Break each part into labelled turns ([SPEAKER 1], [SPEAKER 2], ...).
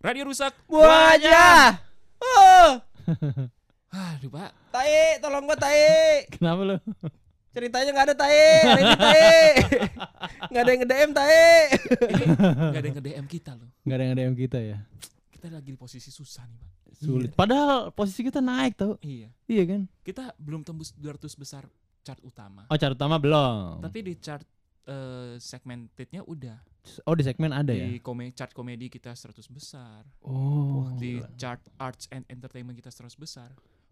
[SPEAKER 1] Radio rusak.
[SPEAKER 2] Wajah. Oh,
[SPEAKER 1] Aduh pak.
[SPEAKER 2] tai, tolong gua tai.
[SPEAKER 3] Kenapa lu?
[SPEAKER 2] Ceritanya nggak ada tai, hari ini tai. Nggak ada yang nge-DM tai.
[SPEAKER 1] Gak ada yang nge-DM kita loh.
[SPEAKER 3] Gak ada yang DM kita ya.
[SPEAKER 1] Kita lagi di posisi susah nih pak.
[SPEAKER 3] Sulit. Iya. Padahal posisi kita naik tau.
[SPEAKER 1] Iya.
[SPEAKER 3] Iya kan?
[SPEAKER 1] Kita belum tembus 200 besar chart utama.
[SPEAKER 3] Oh, cara utama belum.
[SPEAKER 1] Tapi di chart eh, segmentednya udah.
[SPEAKER 3] Oh, di segmen ada ya.
[SPEAKER 1] Di kome- chart komedi kita 100 besar.
[SPEAKER 3] Oh.
[SPEAKER 1] di chart arts and entertainment kita 100 besar.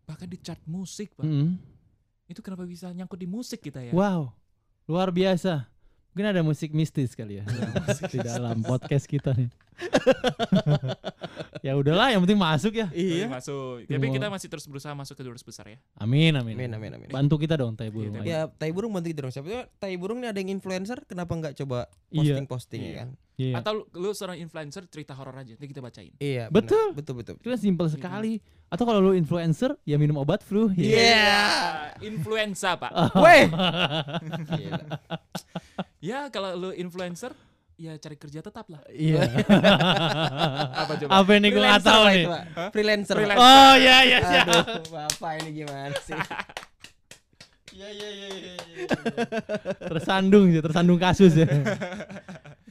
[SPEAKER 1] Bahkan di chart musik pak.
[SPEAKER 3] Mm-mm.
[SPEAKER 1] Itu kenapa bisa nyangkut di musik kita ya?
[SPEAKER 3] Wow. Luar biasa. Mungkin ada musik mistis kali ya. di dalam podcast kita nih. ya udahlah, yang penting masuk ya.
[SPEAKER 2] iya.
[SPEAKER 1] Tapi Masuk. Tapi
[SPEAKER 3] Semua-
[SPEAKER 1] kita masih terus berusaha masuk ke 200 besar ya.
[SPEAKER 3] Amin, amin.
[SPEAKER 2] Amin, amin, amin.
[SPEAKER 3] Bantu kita dong, Taibul.
[SPEAKER 1] Iya,
[SPEAKER 2] Ya, tai burung bantu kita dong. Siapa tahu tai burung nih ada yang influencer, kenapa nggak coba
[SPEAKER 3] Iya.
[SPEAKER 2] posting-posting ya
[SPEAKER 1] Iya.
[SPEAKER 2] kan?
[SPEAKER 3] Iya.
[SPEAKER 1] Atau lu, lu seorang influencer cerita horor aja, nanti kita bacain.
[SPEAKER 2] Iya, benar.
[SPEAKER 3] Betul.
[SPEAKER 2] Betul, betul.
[SPEAKER 3] Itu kan simpel sekali. Atau kalau lu influencer, ya minum obat flu.
[SPEAKER 2] Iya.
[SPEAKER 1] Influenza pak.
[SPEAKER 2] Weh. Gila.
[SPEAKER 1] Ya kalau lu influencer, ya cari kerja tetap lah. Ah,
[SPEAKER 3] Iya.
[SPEAKER 1] Apa coba?
[SPEAKER 3] Apa ini gue nggak
[SPEAKER 2] Freelancer,
[SPEAKER 3] tahu
[SPEAKER 2] Pak,
[SPEAKER 3] nih.
[SPEAKER 2] itu, Pak. Ah. Freelancer. Pak.
[SPEAKER 1] Freelancer.
[SPEAKER 3] Oh iya iya iya.
[SPEAKER 2] Aduh, Bapak ini gimana sih? Iya, iya, iya,
[SPEAKER 3] Tersandung sih, tersandung kasus ya.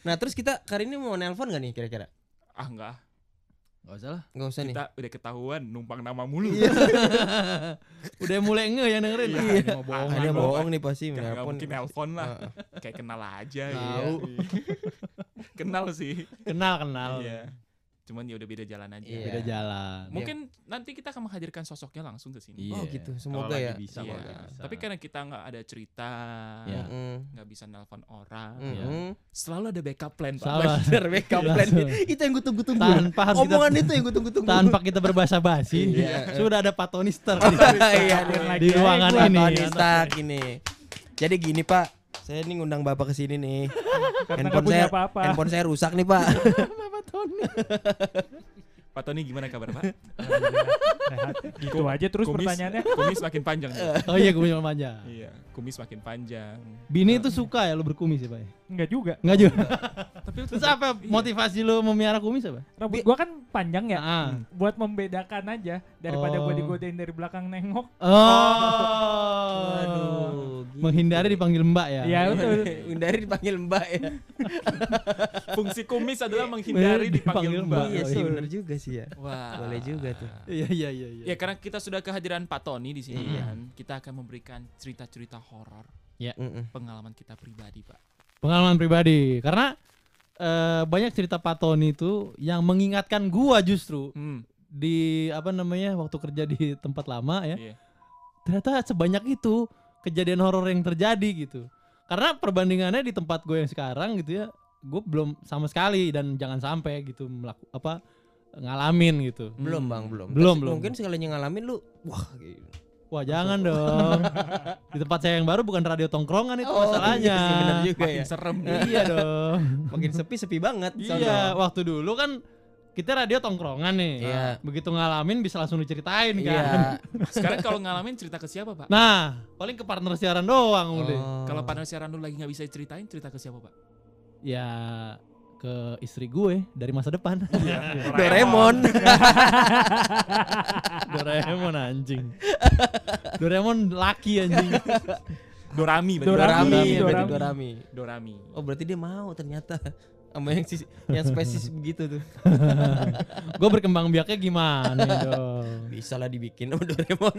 [SPEAKER 2] Nah, terus kita kali ini mau nelpon gak nih kira-kira?
[SPEAKER 1] Ah enggak,
[SPEAKER 3] Gak usah lah.
[SPEAKER 2] Gak usah nih.
[SPEAKER 1] kita udah ketahuan numpang nama mulu.
[SPEAKER 3] Iya. Udah mulai nge yang dengerin.
[SPEAKER 1] Iya.
[SPEAKER 3] Iya. Mau bohong.
[SPEAKER 2] Ah, Ada
[SPEAKER 1] Bohongan,
[SPEAKER 2] bohong nih pasti
[SPEAKER 1] Nggak- nggak
[SPEAKER 2] nelpon.
[SPEAKER 1] mungkin nelpon lah.
[SPEAKER 2] Heeh.
[SPEAKER 1] Kayak kenal aja gitu.
[SPEAKER 2] Tahu.
[SPEAKER 1] kenal sih.
[SPEAKER 3] Kenal kenal.
[SPEAKER 1] Iya. Cuman ya udah beda jalan aja.
[SPEAKER 2] Iya.
[SPEAKER 3] Beda jalan.
[SPEAKER 1] Mungkin nanti kita akan menghadirkan sosoknya langsung ke sini.
[SPEAKER 3] Iya.
[SPEAKER 2] Oh, gitu.
[SPEAKER 3] Kalau
[SPEAKER 2] Semoga
[SPEAKER 3] lagi
[SPEAKER 2] ya.
[SPEAKER 3] Bisa,
[SPEAKER 1] Iya.
[SPEAKER 3] kalau lagi bisa.
[SPEAKER 1] Tapi karena kita nggak ada cerita,
[SPEAKER 3] Iya.
[SPEAKER 2] Mm.
[SPEAKER 1] nggak bisa nelpon orang,
[SPEAKER 2] Mm.
[SPEAKER 3] Iya.
[SPEAKER 2] Mm.
[SPEAKER 1] selalu ada backup plan pak.
[SPEAKER 3] Salah.
[SPEAKER 2] Bener, backup plan.
[SPEAKER 3] Langsung.
[SPEAKER 2] Itu yang gue tunggu-tunggu.
[SPEAKER 3] Tanpa harus kita-
[SPEAKER 2] Omongan itu yang Iya, gue tunggu-tunggu.
[SPEAKER 3] Tanpa kita berbahasa basi,
[SPEAKER 2] Iya.
[SPEAKER 3] sudah ada Pak Tony Stark di-
[SPEAKER 2] Iya, nih.
[SPEAKER 3] di ruangan
[SPEAKER 2] Wah,
[SPEAKER 3] ini.
[SPEAKER 2] Tony Stark ini. Jadi gini Pak, saya nih ngundang Bapak ke sini nih. handphone
[SPEAKER 4] nggak punya
[SPEAKER 2] saya
[SPEAKER 4] apa-apa.
[SPEAKER 2] handphone saya rusak nih Pak.
[SPEAKER 3] Pak Tony.
[SPEAKER 1] Pak Tony gimana kabar pak?
[SPEAKER 4] Sehat. gitu aja terus
[SPEAKER 1] Kumis-
[SPEAKER 4] pertanyaannya
[SPEAKER 1] Kumis makin panjang. nih.
[SPEAKER 3] Oh iya, gue cuma manja.
[SPEAKER 1] Iya, kumis makin panjang.
[SPEAKER 3] Bini itu suka ya lu berkumis ya, Pak?
[SPEAKER 4] enggak juga
[SPEAKER 3] Enggak juga.
[SPEAKER 1] Tapi lu
[SPEAKER 3] Terus
[SPEAKER 1] tetap-
[SPEAKER 3] apa
[SPEAKER 1] Iya.
[SPEAKER 3] motivasi lu memelihara kumis apa?
[SPEAKER 4] rambut gua kan panjang
[SPEAKER 2] Iya.
[SPEAKER 4] ya
[SPEAKER 3] Ah.
[SPEAKER 4] buat membedakan aja daripada gua
[SPEAKER 3] Oh.
[SPEAKER 4] digodain dari belakang nengok
[SPEAKER 3] Oh.
[SPEAKER 2] gitu.
[SPEAKER 3] Menghindari dipanggil Mbak ya.
[SPEAKER 4] ya betul
[SPEAKER 2] Hindari dipanggil Mbak ya.
[SPEAKER 1] Fungsi kumis adalah menghindari dipanggil
[SPEAKER 3] Dipanggil
[SPEAKER 1] mbak.
[SPEAKER 3] mbak.
[SPEAKER 2] iya
[SPEAKER 3] Oh,
[SPEAKER 2] sih
[SPEAKER 3] iya.
[SPEAKER 2] bener juga sih ya.
[SPEAKER 1] Wah.
[SPEAKER 2] Boleh juga tuh.
[SPEAKER 3] Iya iya iya iya.
[SPEAKER 1] Ya karena kita sudah kehadiran Pak Tony di sini
[SPEAKER 2] Iya.
[SPEAKER 1] kan, kita akan memberikan cerita-cerita horor
[SPEAKER 3] Hmm.
[SPEAKER 2] Mm-mm.
[SPEAKER 1] pengalaman kita pribadi, Pak.
[SPEAKER 3] Pengalaman pribadi. Karena eh, banyak cerita Pak Tony itu yang mengingatkan gua justru
[SPEAKER 1] Hmm.
[SPEAKER 3] di apa namanya waktu kerja di tempat lama ya.
[SPEAKER 1] Iya.
[SPEAKER 3] Ternyata sebanyak itu kejadian horor yang terjadi gitu. Karena perbandingannya di tempat gue yang sekarang gitu ya, gue belum sama sekali dan jangan sampai gitu melaku, apa ngalamin gitu.
[SPEAKER 2] Belum Bang, belum.
[SPEAKER 3] Belum,
[SPEAKER 2] Tapi
[SPEAKER 3] belum.
[SPEAKER 2] Mungkin sekalinya ngalamin lu wah gitu.
[SPEAKER 3] Wah jangan dong. Di tempat saya yang baru bukan radio tongkrongan itu masalahnya.
[SPEAKER 2] iya sih, bener juga
[SPEAKER 1] Makin
[SPEAKER 2] ya.
[SPEAKER 1] serem.
[SPEAKER 3] iya dong.
[SPEAKER 2] Makin sepi sepi banget.
[SPEAKER 3] iya, waktu dulu kan kita radio tongkrongan nih.
[SPEAKER 2] Iya.
[SPEAKER 3] Begitu ngalamin bisa langsung diceritain
[SPEAKER 2] sono.
[SPEAKER 3] kan.
[SPEAKER 2] Iya.
[SPEAKER 1] Sekarang kalau ngalamin cerita ke siapa, Pak?
[SPEAKER 3] Nah, paling ke partner siaran doang udah.
[SPEAKER 2] Oh.
[SPEAKER 1] Kalau partner siaran lu lagi nggak bisa ceritain, cerita ke siapa, Pak?
[SPEAKER 3] Ya ke istri gue dari masa depan. Iya.
[SPEAKER 2] Doraemon.
[SPEAKER 3] Doraemon anjing. Doraemon laki anjing.
[SPEAKER 1] Dorami, berarti.
[SPEAKER 4] Dorami.
[SPEAKER 2] Dorami, ya, berarti
[SPEAKER 4] Dorami.
[SPEAKER 2] Dorami.
[SPEAKER 1] Dorami.
[SPEAKER 2] Oh berarti dia mau ternyata sama yang sis- yang spesies begitu tuh.
[SPEAKER 3] gue berkembang biaknya gimana dong?
[SPEAKER 2] Bisa lah dibikin sama Doraemon.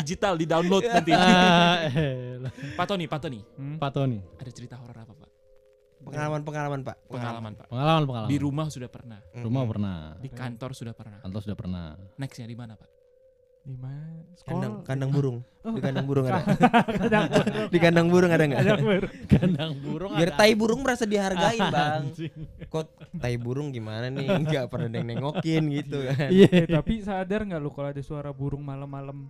[SPEAKER 1] Digital di download
[SPEAKER 2] Iya.
[SPEAKER 1] nanti.
[SPEAKER 3] Ah, eh,
[SPEAKER 1] Pak Tony, Pak Tony,
[SPEAKER 4] Hmm.
[SPEAKER 3] Pak Tony,
[SPEAKER 1] ada cerita horor apa, Pak?
[SPEAKER 2] Pengalaman-pengalaman Pak. Hmm.
[SPEAKER 1] Pengalaman, Pak.
[SPEAKER 3] pengalaman pengalaman.
[SPEAKER 1] Di rumah sudah pernah,
[SPEAKER 3] rumah pernah,
[SPEAKER 1] di kantor sudah pernah.
[SPEAKER 3] kantor sudah pernah.
[SPEAKER 1] Nextnya di mana, Pak?
[SPEAKER 4] di mana
[SPEAKER 2] Kandang,
[SPEAKER 4] sekolah
[SPEAKER 2] kandang burung. Di kandang burung ada.
[SPEAKER 4] Kandang burung.
[SPEAKER 2] Di kandang burung ada nggak?
[SPEAKER 4] ada burung.
[SPEAKER 3] Kandang burung
[SPEAKER 2] Biar
[SPEAKER 3] ada.
[SPEAKER 2] tai burung merasa dihargain bang. Kok tai burung gimana nih? Nggak pernah ada yang nengokin gitu kan.
[SPEAKER 3] Iya.
[SPEAKER 4] Eh, tapi sadar nggak lu kalau ada suara burung malam-malam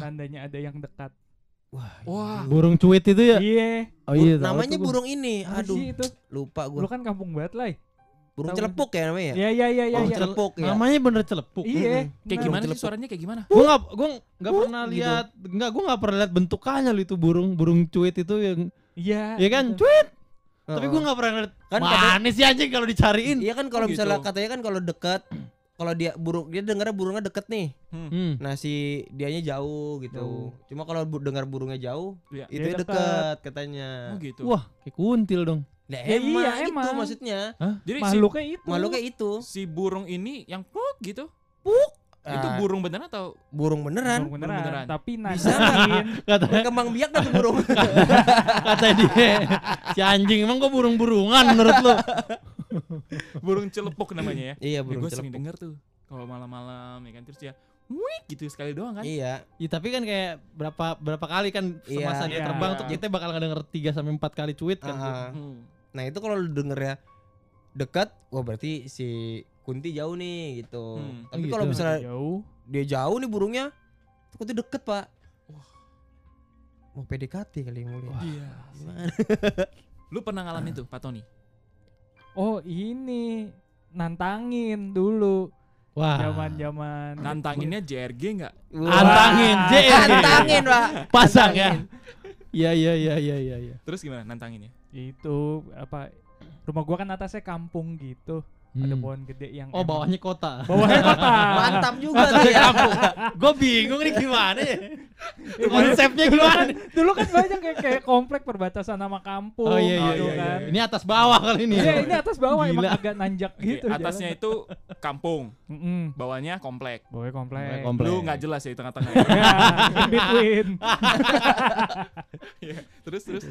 [SPEAKER 4] tandanya ada yang dekat
[SPEAKER 1] Wah,
[SPEAKER 3] Burung cuit itu ya?
[SPEAKER 4] iya
[SPEAKER 3] Oh
[SPEAKER 2] Bur-
[SPEAKER 3] iya. tahu
[SPEAKER 2] namanya
[SPEAKER 3] tuh gua.
[SPEAKER 2] burung ini.
[SPEAKER 4] Apa sih
[SPEAKER 2] Aduh,
[SPEAKER 4] itu
[SPEAKER 2] lupa
[SPEAKER 4] lu
[SPEAKER 2] gua.
[SPEAKER 4] kan kampung banget lah
[SPEAKER 2] Burung
[SPEAKER 4] tahu.
[SPEAKER 2] celepuk ya namanya. ya?
[SPEAKER 4] ya ya ya ya
[SPEAKER 2] Burung
[SPEAKER 4] ya.
[SPEAKER 2] celepuk ya.
[SPEAKER 3] Namanya bener celepuk.
[SPEAKER 4] iya
[SPEAKER 2] Mm-mm.
[SPEAKER 1] kayak
[SPEAKER 4] benar.
[SPEAKER 1] gimana sih
[SPEAKER 2] Celepuk.
[SPEAKER 1] suaranya kayak gimana?
[SPEAKER 3] Gue nggak, gue nggak
[SPEAKER 2] Wuh,
[SPEAKER 3] pernah
[SPEAKER 2] gitu.
[SPEAKER 3] lihat, nggak gue nggak pernah lihat bentukannya loh itu burung burung cuit itu yang
[SPEAKER 4] iya
[SPEAKER 3] Iya kan?
[SPEAKER 4] gitu.
[SPEAKER 3] Cuit. Tapi gue nggak pernah ngeliat.
[SPEAKER 2] Kan katanya-
[SPEAKER 3] manis sih anjing kalau dicariin.
[SPEAKER 2] Iya kan
[SPEAKER 1] Oh,
[SPEAKER 2] kalau
[SPEAKER 1] gitu.
[SPEAKER 2] misalnya katanya kan kalau dekat kalau dia burung dia dengarnya burungnya deket nih.
[SPEAKER 3] Hmm.
[SPEAKER 2] Nah si dianya jauh gitu. Cuma kalau bu, dengar burungnya jauh,
[SPEAKER 1] Iya.
[SPEAKER 2] itu
[SPEAKER 4] Dia
[SPEAKER 2] dekat.
[SPEAKER 4] deket.
[SPEAKER 2] katanya.
[SPEAKER 1] Oh gitu.
[SPEAKER 3] Wah, kayak kuntil dong.
[SPEAKER 2] Lah,
[SPEAKER 4] Ya
[SPEAKER 2] emang
[SPEAKER 4] iya,
[SPEAKER 2] itu
[SPEAKER 4] emang.
[SPEAKER 2] maksudnya.
[SPEAKER 1] Jadi si,
[SPEAKER 4] Makhluknya itu.
[SPEAKER 2] Makhluknya itu
[SPEAKER 1] si burung ini yang puk gitu. Itu
[SPEAKER 2] Ah,
[SPEAKER 1] burung beneran atau
[SPEAKER 2] burung beneran.
[SPEAKER 4] Burung beneran,
[SPEAKER 1] beneran.
[SPEAKER 4] Tapi
[SPEAKER 2] Bisa
[SPEAKER 4] nanyain.
[SPEAKER 3] Kata
[SPEAKER 2] Berkembang biak dah tuh burung.
[SPEAKER 3] kata dia. Si anjing emang kok burung-burungan menurut lo?
[SPEAKER 1] burung celepuk namanya ya?
[SPEAKER 2] iya
[SPEAKER 1] ya
[SPEAKER 2] burung
[SPEAKER 1] gue sering
[SPEAKER 2] celepuk.
[SPEAKER 1] denger tuh kalau malam-malam ya kan terus dia wih gitu sekali doang kan.
[SPEAKER 2] Iya.
[SPEAKER 3] Ya, tapi kan kayak berapa berapa kali kan
[SPEAKER 2] Iya.
[SPEAKER 3] semasa dia
[SPEAKER 4] Iya.
[SPEAKER 3] terbang tuh kita bakal ngedenger 3 sampai 4 kali cuit kan. tuh.
[SPEAKER 2] ah.
[SPEAKER 1] Hmm.
[SPEAKER 2] Nah itu kalau lu dengernya dekat, wah berarti si Kunti jauh nih gitu.
[SPEAKER 1] Hmm.
[SPEAKER 2] Tapi
[SPEAKER 3] Oh,
[SPEAKER 2] kalau
[SPEAKER 3] gitu.
[SPEAKER 2] misalnya
[SPEAKER 4] jauh.
[SPEAKER 2] dia jauh nih burungnya, itu Kunti deket pak. Mau PDKT kali yang mulia.
[SPEAKER 1] Iya.
[SPEAKER 2] Gimana?
[SPEAKER 1] Lu pernah
[SPEAKER 2] Ah.
[SPEAKER 1] ngalamin tuh Pak Tony?
[SPEAKER 4] Oh ini nantangin dulu
[SPEAKER 3] Wah.
[SPEAKER 4] zaman-zaman
[SPEAKER 1] Nantanginnya JRG nggak?
[SPEAKER 3] Antangin,
[SPEAKER 4] Wah.
[SPEAKER 3] JRG.
[SPEAKER 2] Antangin pak.
[SPEAKER 3] Pasang ya. Iya iya iya iya iya iya.
[SPEAKER 1] Terus gimana nantanginnya?
[SPEAKER 4] itu apa rumah gua kan atasnya kampung gitu ada
[SPEAKER 3] Hmm.
[SPEAKER 4] pohon gede yang
[SPEAKER 3] Oh,
[SPEAKER 4] emang-
[SPEAKER 3] bawahnya kota.
[SPEAKER 4] bawahnya kota
[SPEAKER 2] Mantap juga tuh ya.
[SPEAKER 3] Gue bingung nih gimana ya.
[SPEAKER 4] Iya,
[SPEAKER 3] Konsepnya
[SPEAKER 4] dulu kan,
[SPEAKER 3] gimana?
[SPEAKER 4] dulu kan banyak kayak, kayak komplek perbatasan sama kampung
[SPEAKER 3] Oh iya iya,
[SPEAKER 4] gitu
[SPEAKER 3] iya, iya.
[SPEAKER 4] kan
[SPEAKER 3] Ini atas bawah kali ini.
[SPEAKER 4] Iya, ini atas bawah emang
[SPEAKER 3] Gila.
[SPEAKER 4] agak nanjak
[SPEAKER 1] Oke,
[SPEAKER 4] gitu
[SPEAKER 1] atasnya itu kampung,
[SPEAKER 4] mm
[SPEAKER 1] bawahnya komplek.
[SPEAKER 4] bawahnya komplek,
[SPEAKER 3] Komplek.
[SPEAKER 1] Lu nggak jelas ya di tengah-tengah.
[SPEAKER 4] ya in between
[SPEAKER 1] Iya. terus terus.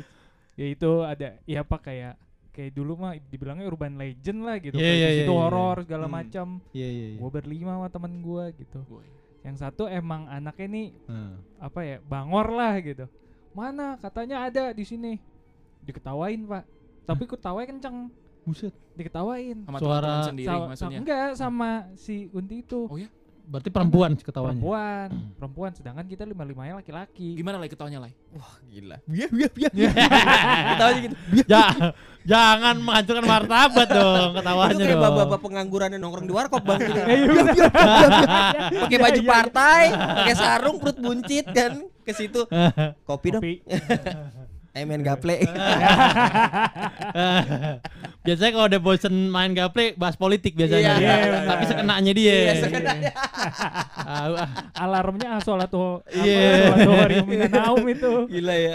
[SPEAKER 4] ya itu ada ya apa kayak kayak dulu mah dibilangnya urban legend lah gitu
[SPEAKER 3] Iya,
[SPEAKER 4] kayak
[SPEAKER 3] iya,
[SPEAKER 4] di
[SPEAKER 3] iya, iya,
[SPEAKER 4] situ
[SPEAKER 3] iya.
[SPEAKER 4] horor segala
[SPEAKER 1] Hmm.
[SPEAKER 4] macam
[SPEAKER 3] Iya iya iya.
[SPEAKER 4] gua berlima sama temen gua gitu
[SPEAKER 1] Boy.
[SPEAKER 4] yang satu emang anaknya nih
[SPEAKER 3] Hmm.
[SPEAKER 4] apa ya bangor lah gitu mana katanya ada di sini diketawain pak tapi ketawanya kenceng
[SPEAKER 3] Buset.
[SPEAKER 4] diketawain
[SPEAKER 1] Sama
[SPEAKER 3] Suara-
[SPEAKER 1] teman-teman sendiri
[SPEAKER 4] Sa- sa-
[SPEAKER 1] maksudnya.
[SPEAKER 4] enggak sama si Unti itu
[SPEAKER 1] Oh Hmm. ya,
[SPEAKER 3] Berarti perempuan sih ketawanya.
[SPEAKER 4] perempuan perempuan sedangkan kita lima limanya laki-laki
[SPEAKER 1] gimana lagi ketawanya lagi?
[SPEAKER 2] Wah gila. Iya, Biar biar biar. Kita aja gitu.
[SPEAKER 3] Ja- jangan menghancurkan martabat dong
[SPEAKER 2] Itu
[SPEAKER 3] ketawanya
[SPEAKER 2] kayak
[SPEAKER 3] dong.
[SPEAKER 2] bapak-bapak pengangguran yang nongkrong di warkop bang. gitu.
[SPEAKER 4] iya,
[SPEAKER 2] Biar, biar, biar, biar. Pakai
[SPEAKER 4] Iya,
[SPEAKER 2] baju
[SPEAKER 4] iya,
[SPEAKER 2] partai, pakai sarung, perut buncit kan ke situ. Kopi dong.
[SPEAKER 4] Kopi. Iya,
[SPEAKER 2] Eh main gaple.
[SPEAKER 3] biasanya kalau udah bosen main gaple bahas politik biasanya.
[SPEAKER 2] Iya,
[SPEAKER 4] benar.
[SPEAKER 3] Tapi sekenanya dia.
[SPEAKER 2] Iya, sekenanya.
[SPEAKER 3] Tahu, ah.
[SPEAKER 4] alarmnya asolatu apa,
[SPEAKER 3] Iya.
[SPEAKER 4] asolatuharium minanaum itu
[SPEAKER 1] Iya.
[SPEAKER 2] Gila ya.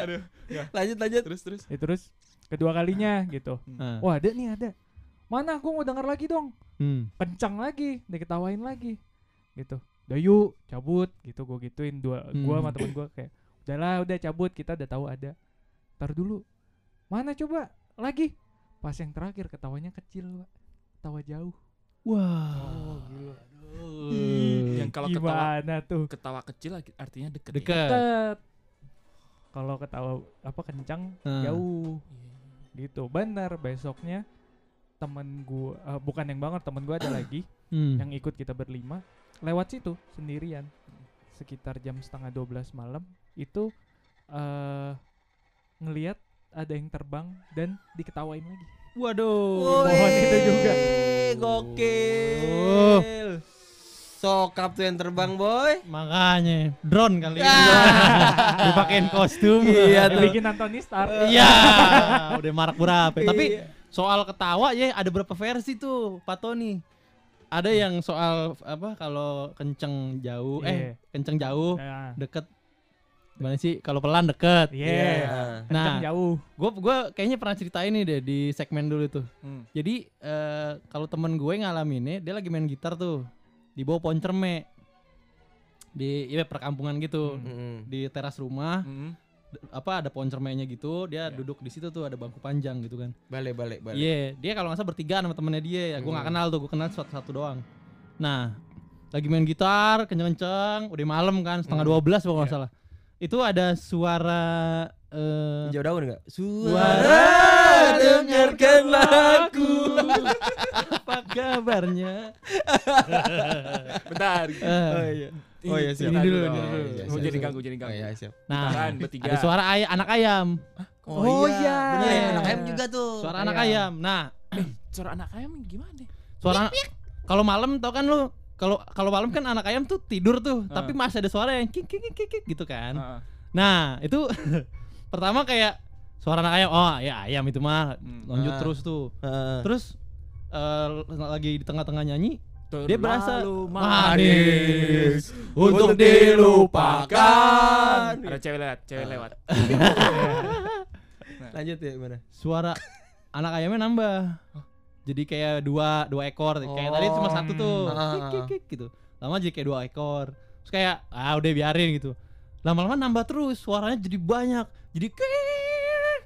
[SPEAKER 1] ya.
[SPEAKER 2] Lanjut lanjut.
[SPEAKER 1] Terus terus.
[SPEAKER 4] ya, terus kedua kalinya gitu
[SPEAKER 1] Nah.
[SPEAKER 3] Ah.
[SPEAKER 4] wah ada nih ada mana gua mau denger lagi dong
[SPEAKER 3] Hmm.
[SPEAKER 4] kencang lagi diketawain lagi gitu udah yuk cabut gitu gue gituin dua gua
[SPEAKER 3] Hmm.
[SPEAKER 4] sama temen gue kayak udahlah udah cabut kita udah tahu ada ntar dulu mana coba lagi pas yang terakhir ketawanya kecil pak ketawa jauh
[SPEAKER 3] Wah.
[SPEAKER 4] gila
[SPEAKER 3] Eh,
[SPEAKER 1] Yang kalau ketawa
[SPEAKER 4] gimana tuh
[SPEAKER 1] ketawa kecil lagi- artinya deket. ya?
[SPEAKER 3] Dekat.
[SPEAKER 4] Tet. kalau ketawa apa kencang
[SPEAKER 3] Hmm.
[SPEAKER 4] jauh
[SPEAKER 1] Iya.
[SPEAKER 4] gitu benar besoknya temen gua eh, bukan yang banget temen gua ada lagi
[SPEAKER 3] Hmm.
[SPEAKER 4] yang ikut kita berlima lewat situ sendirian sekitar jam setengah 12 malam itu eh ngelihat ada yang terbang dan diketawain lagi
[SPEAKER 3] Waduh.
[SPEAKER 4] Woi. pohon itu juga.
[SPEAKER 2] Wih, Gokil. Sokap tuh yang terbang boy.
[SPEAKER 3] Makanya drone kali ini. Dipakein kostum.
[SPEAKER 2] Iya
[SPEAKER 4] yang
[SPEAKER 2] tuh.
[SPEAKER 4] bikin Anthony Starr
[SPEAKER 3] Iya, udah marak berapa.
[SPEAKER 2] Iya.
[SPEAKER 3] Tapi soal ketawa ya ada berapa versi tuh, Pak Tony. Ada yang soal apa kalau kenceng jauh, eh kenceng jauh,
[SPEAKER 4] Nah,
[SPEAKER 3] deket. Gimana sih kalau pelan deket.
[SPEAKER 4] iya
[SPEAKER 2] Iya.
[SPEAKER 4] Kencang
[SPEAKER 3] Nah,
[SPEAKER 4] jauh
[SPEAKER 3] gue gua kayaknya pernah cerita ini deh di segmen dulu tuh.
[SPEAKER 1] Hmm.
[SPEAKER 3] Jadi eh, kalau temen gue ngalaminnya, dia lagi main gitar tuh di bawah pohon cerme di ya, perkampungan gitu
[SPEAKER 4] Hmm.
[SPEAKER 2] Mm-mm.
[SPEAKER 3] di teras rumah
[SPEAKER 1] Hmm.
[SPEAKER 3] d- apa ada pohon cermainya gitu dia
[SPEAKER 1] Iya.
[SPEAKER 3] duduk di situ tuh ada bangku panjang gitu kan
[SPEAKER 2] Balik balik balik.
[SPEAKER 3] iya dia kalau nggak salah bertiga sama temennya dia ya gue nggak
[SPEAKER 2] Hmm.
[SPEAKER 3] kenal tuh gue kenal satu satu doang nah lagi main gitar kenceng-kenceng udah malam kan setengah
[SPEAKER 2] Hmm.
[SPEAKER 3] dua belas kalau nggak
[SPEAKER 1] Iya.
[SPEAKER 3] salah itu ada suara eh
[SPEAKER 2] Jauh daun enggak?
[SPEAKER 3] Suara
[SPEAKER 2] dengarkanlah aku.
[SPEAKER 3] apa kabarnya
[SPEAKER 1] Bentar.
[SPEAKER 3] Eh,
[SPEAKER 2] Oh iya.
[SPEAKER 1] Ini-
[SPEAKER 2] Oh iya, siap.
[SPEAKER 1] ini dulu,
[SPEAKER 3] Oh,
[SPEAKER 1] ini
[SPEAKER 3] iya,
[SPEAKER 1] dulu.
[SPEAKER 3] iya,
[SPEAKER 1] Mau
[SPEAKER 2] siap,
[SPEAKER 1] jadi
[SPEAKER 2] siap.
[SPEAKER 1] ganggu, jadi
[SPEAKER 2] Oh
[SPEAKER 1] ganggu.
[SPEAKER 2] iya, siap.
[SPEAKER 3] nah
[SPEAKER 1] Tahan, bertiga.
[SPEAKER 3] ada suara ay anak ayam
[SPEAKER 2] Oh, iya. Bener,
[SPEAKER 3] Iya.
[SPEAKER 2] anak ayam juga tuh.
[SPEAKER 3] suara
[SPEAKER 4] Ayam.
[SPEAKER 3] anak ayam nah
[SPEAKER 1] Suara anak ayam gimana?
[SPEAKER 3] suara kalau malam tau kan lu kalau kalau malam kan anak ayam tuh tidur tuh tapi
[SPEAKER 1] Ah.
[SPEAKER 3] masih ada suara yang kik kik kik kik gitu kan
[SPEAKER 1] Heeh.
[SPEAKER 3] nah itu kan. pertama kayak Suara anak ayam. Oh, ya ayam itu mah.
[SPEAKER 1] Hmm.
[SPEAKER 3] Lanjut
[SPEAKER 2] Ah.
[SPEAKER 3] terus tuh.
[SPEAKER 2] Heeh.
[SPEAKER 3] Terus eh, lagi di tengah-tengah nyanyi
[SPEAKER 1] Terlalu
[SPEAKER 3] dia berasa
[SPEAKER 1] manis
[SPEAKER 3] untuk dilupakan.
[SPEAKER 1] Ada cewek lewat, cewek lewat.
[SPEAKER 2] Lanjut ya gimana?
[SPEAKER 3] Suara anak ayamnya nambah. Jadi kayak dua dua ekor. Kayak tadi cuma satu tuh.
[SPEAKER 2] Ah.
[SPEAKER 3] Kik, kik, kik, gitu. Lama jadi kayak dua ekor. Terus kayak ah udah biarin gitu. Lama-lama nambah terus suaranya jadi banyak. Jadi kik.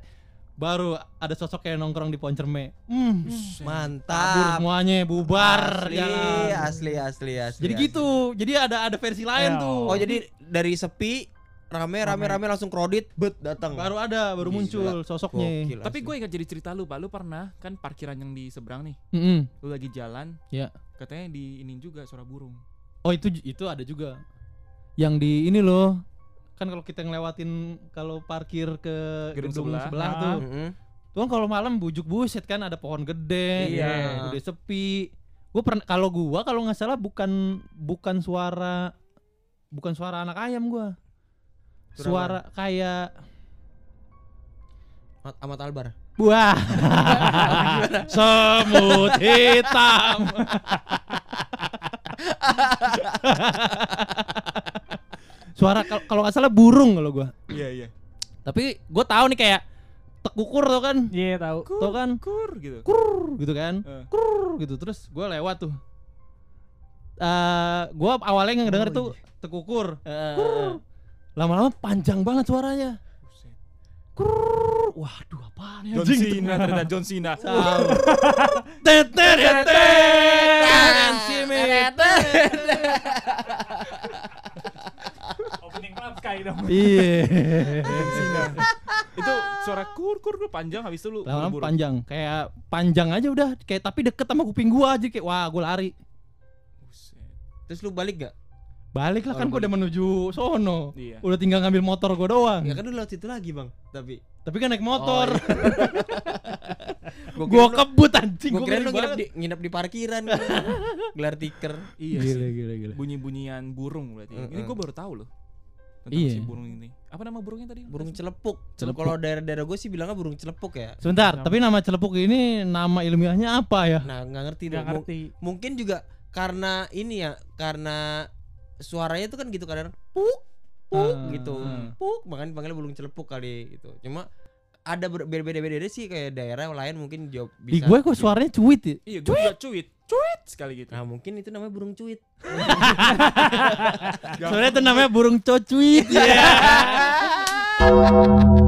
[SPEAKER 3] Baru ada sosok kayak nongkrong di pohon cerme. Hmm. Kabur
[SPEAKER 2] Mantap.
[SPEAKER 3] semuanya bubar
[SPEAKER 2] asli,
[SPEAKER 3] jalan.
[SPEAKER 2] asli, asli, asli.
[SPEAKER 3] Jadi
[SPEAKER 2] asli.
[SPEAKER 3] gitu. Jadi ada ada versi lain
[SPEAKER 4] Ya.
[SPEAKER 3] tuh.
[SPEAKER 2] Oh, jadi dari sepi rame rame rame langsung krodit bet datang.
[SPEAKER 3] baru ada, baru
[SPEAKER 2] Gila.
[SPEAKER 3] muncul sosoknya.
[SPEAKER 2] Gokil,
[SPEAKER 1] Tapi
[SPEAKER 2] asli.
[SPEAKER 1] gue ingat jadi cerita lu, Pak. Lu pernah kan parkiran yang di seberang nih.
[SPEAKER 3] Mm-mm.
[SPEAKER 1] Lu lagi jalan.
[SPEAKER 3] Iya.
[SPEAKER 1] Katanya di ini juga suara burung.
[SPEAKER 3] Oh, itu itu ada juga. Yang di ini loh. Kan kalau kita ngelewatin kalau parkir ke
[SPEAKER 1] Gedung
[SPEAKER 3] gedung,
[SPEAKER 1] sebelah.
[SPEAKER 3] sebelah,
[SPEAKER 4] Ah.
[SPEAKER 3] tuh.
[SPEAKER 2] Mm-mm.
[SPEAKER 3] Tuh kan kalau malam bujuk buset kan ada pohon gede.
[SPEAKER 2] Iya.
[SPEAKER 3] Udah sepi. Gue pernah kalau gua kalau nggak salah bukan bukan suara bukan suara anak ayam gua.
[SPEAKER 2] Suara
[SPEAKER 3] Suara kayak
[SPEAKER 2] Mat- Ahmad Albar.
[SPEAKER 3] Wah, semut hitam. Suara kal- kalau nggak salah burung kalau gua.
[SPEAKER 1] Iya, iya.
[SPEAKER 3] Tapi gua tahu nih kayak tekukur tuh kan,
[SPEAKER 4] Iya tahu.
[SPEAKER 3] tuh kan,
[SPEAKER 1] Kur gitu.
[SPEAKER 3] kur gitu kan,
[SPEAKER 1] Eh.
[SPEAKER 3] kur gitu. Terus gua lewat tuh. Eh, gua awalnya ngedenger
[SPEAKER 2] Oh,
[SPEAKER 3] tuh tekukur, kur. Lama-lama panjang banget suaranya.
[SPEAKER 1] Buset.
[SPEAKER 3] Kur. Waduh, apaan ya?
[SPEAKER 1] John
[SPEAKER 3] anjing?
[SPEAKER 1] Cena ternyata John Cena.
[SPEAKER 4] Opening club sky dong.
[SPEAKER 3] Iya.
[SPEAKER 1] John Cena. Itu suara kur kur lu panjang habis itu lu
[SPEAKER 3] Lama-lama
[SPEAKER 1] buru-buru.
[SPEAKER 3] panjang, kayak panjang aja udah, kayak tapi deket sama kuping gua aja kayak wah gua lari.
[SPEAKER 1] Buset.
[SPEAKER 2] Terus lu balik gak?
[SPEAKER 3] Balik lah
[SPEAKER 2] Oh,
[SPEAKER 3] kan gua
[SPEAKER 2] balik.
[SPEAKER 3] udah menuju sono.
[SPEAKER 1] Iya.
[SPEAKER 3] Udah tinggal ngambil motor gua doang.
[SPEAKER 2] Ya kan lu lewat situ lagi bang. Tapi Oh,
[SPEAKER 3] Tapi kan naik motor.
[SPEAKER 2] gue
[SPEAKER 3] gua kebut anjing
[SPEAKER 2] Gue Oh,
[SPEAKER 3] gua
[SPEAKER 2] iya. kira lu
[SPEAKER 3] ngeri
[SPEAKER 2] nginep
[SPEAKER 3] banget.
[SPEAKER 2] di, nginep di parkiran Gelar tiker
[SPEAKER 1] Iya.
[SPEAKER 3] Gila
[SPEAKER 1] sih.
[SPEAKER 3] gila gila.
[SPEAKER 1] Bunyi-bunyian burung berarti. Ini
[SPEAKER 2] Mm-mm.
[SPEAKER 1] gue baru tahu loh. Tentang
[SPEAKER 3] Iya.
[SPEAKER 1] si burung ini. Apa nama burungnya tadi?
[SPEAKER 2] Burung celepuk
[SPEAKER 3] Celepuk.
[SPEAKER 2] Kalau daerah-daerah gue sih bilangnya burung celepuk ya
[SPEAKER 3] Sebentar,
[SPEAKER 4] Nama-
[SPEAKER 3] tapi nama celepuk ini nama ilmiahnya apa ya?
[SPEAKER 2] Nah nggak ngerti
[SPEAKER 4] Gak
[SPEAKER 2] dong
[SPEAKER 4] ngerti.
[SPEAKER 2] Mungkin juga karena ini ya Karena suaranya tuh kan gitu kadang Puk Puk
[SPEAKER 3] Ah,
[SPEAKER 2] gitu
[SPEAKER 3] ah.
[SPEAKER 2] Puk Makanya dipanggilnya burung celepuk kali gitu Cuma ada ber- beda-beda-beda sih kayak daerah lain mungkin jawab
[SPEAKER 3] Di
[SPEAKER 2] bisa
[SPEAKER 3] gue kok suaranya cuit ya?
[SPEAKER 1] Iya, gue juga cuit. Cuit sekali gitu.
[SPEAKER 2] Nah mungkin itu namanya burung cuit
[SPEAKER 3] Suaranya itu namanya burung cocuit ya.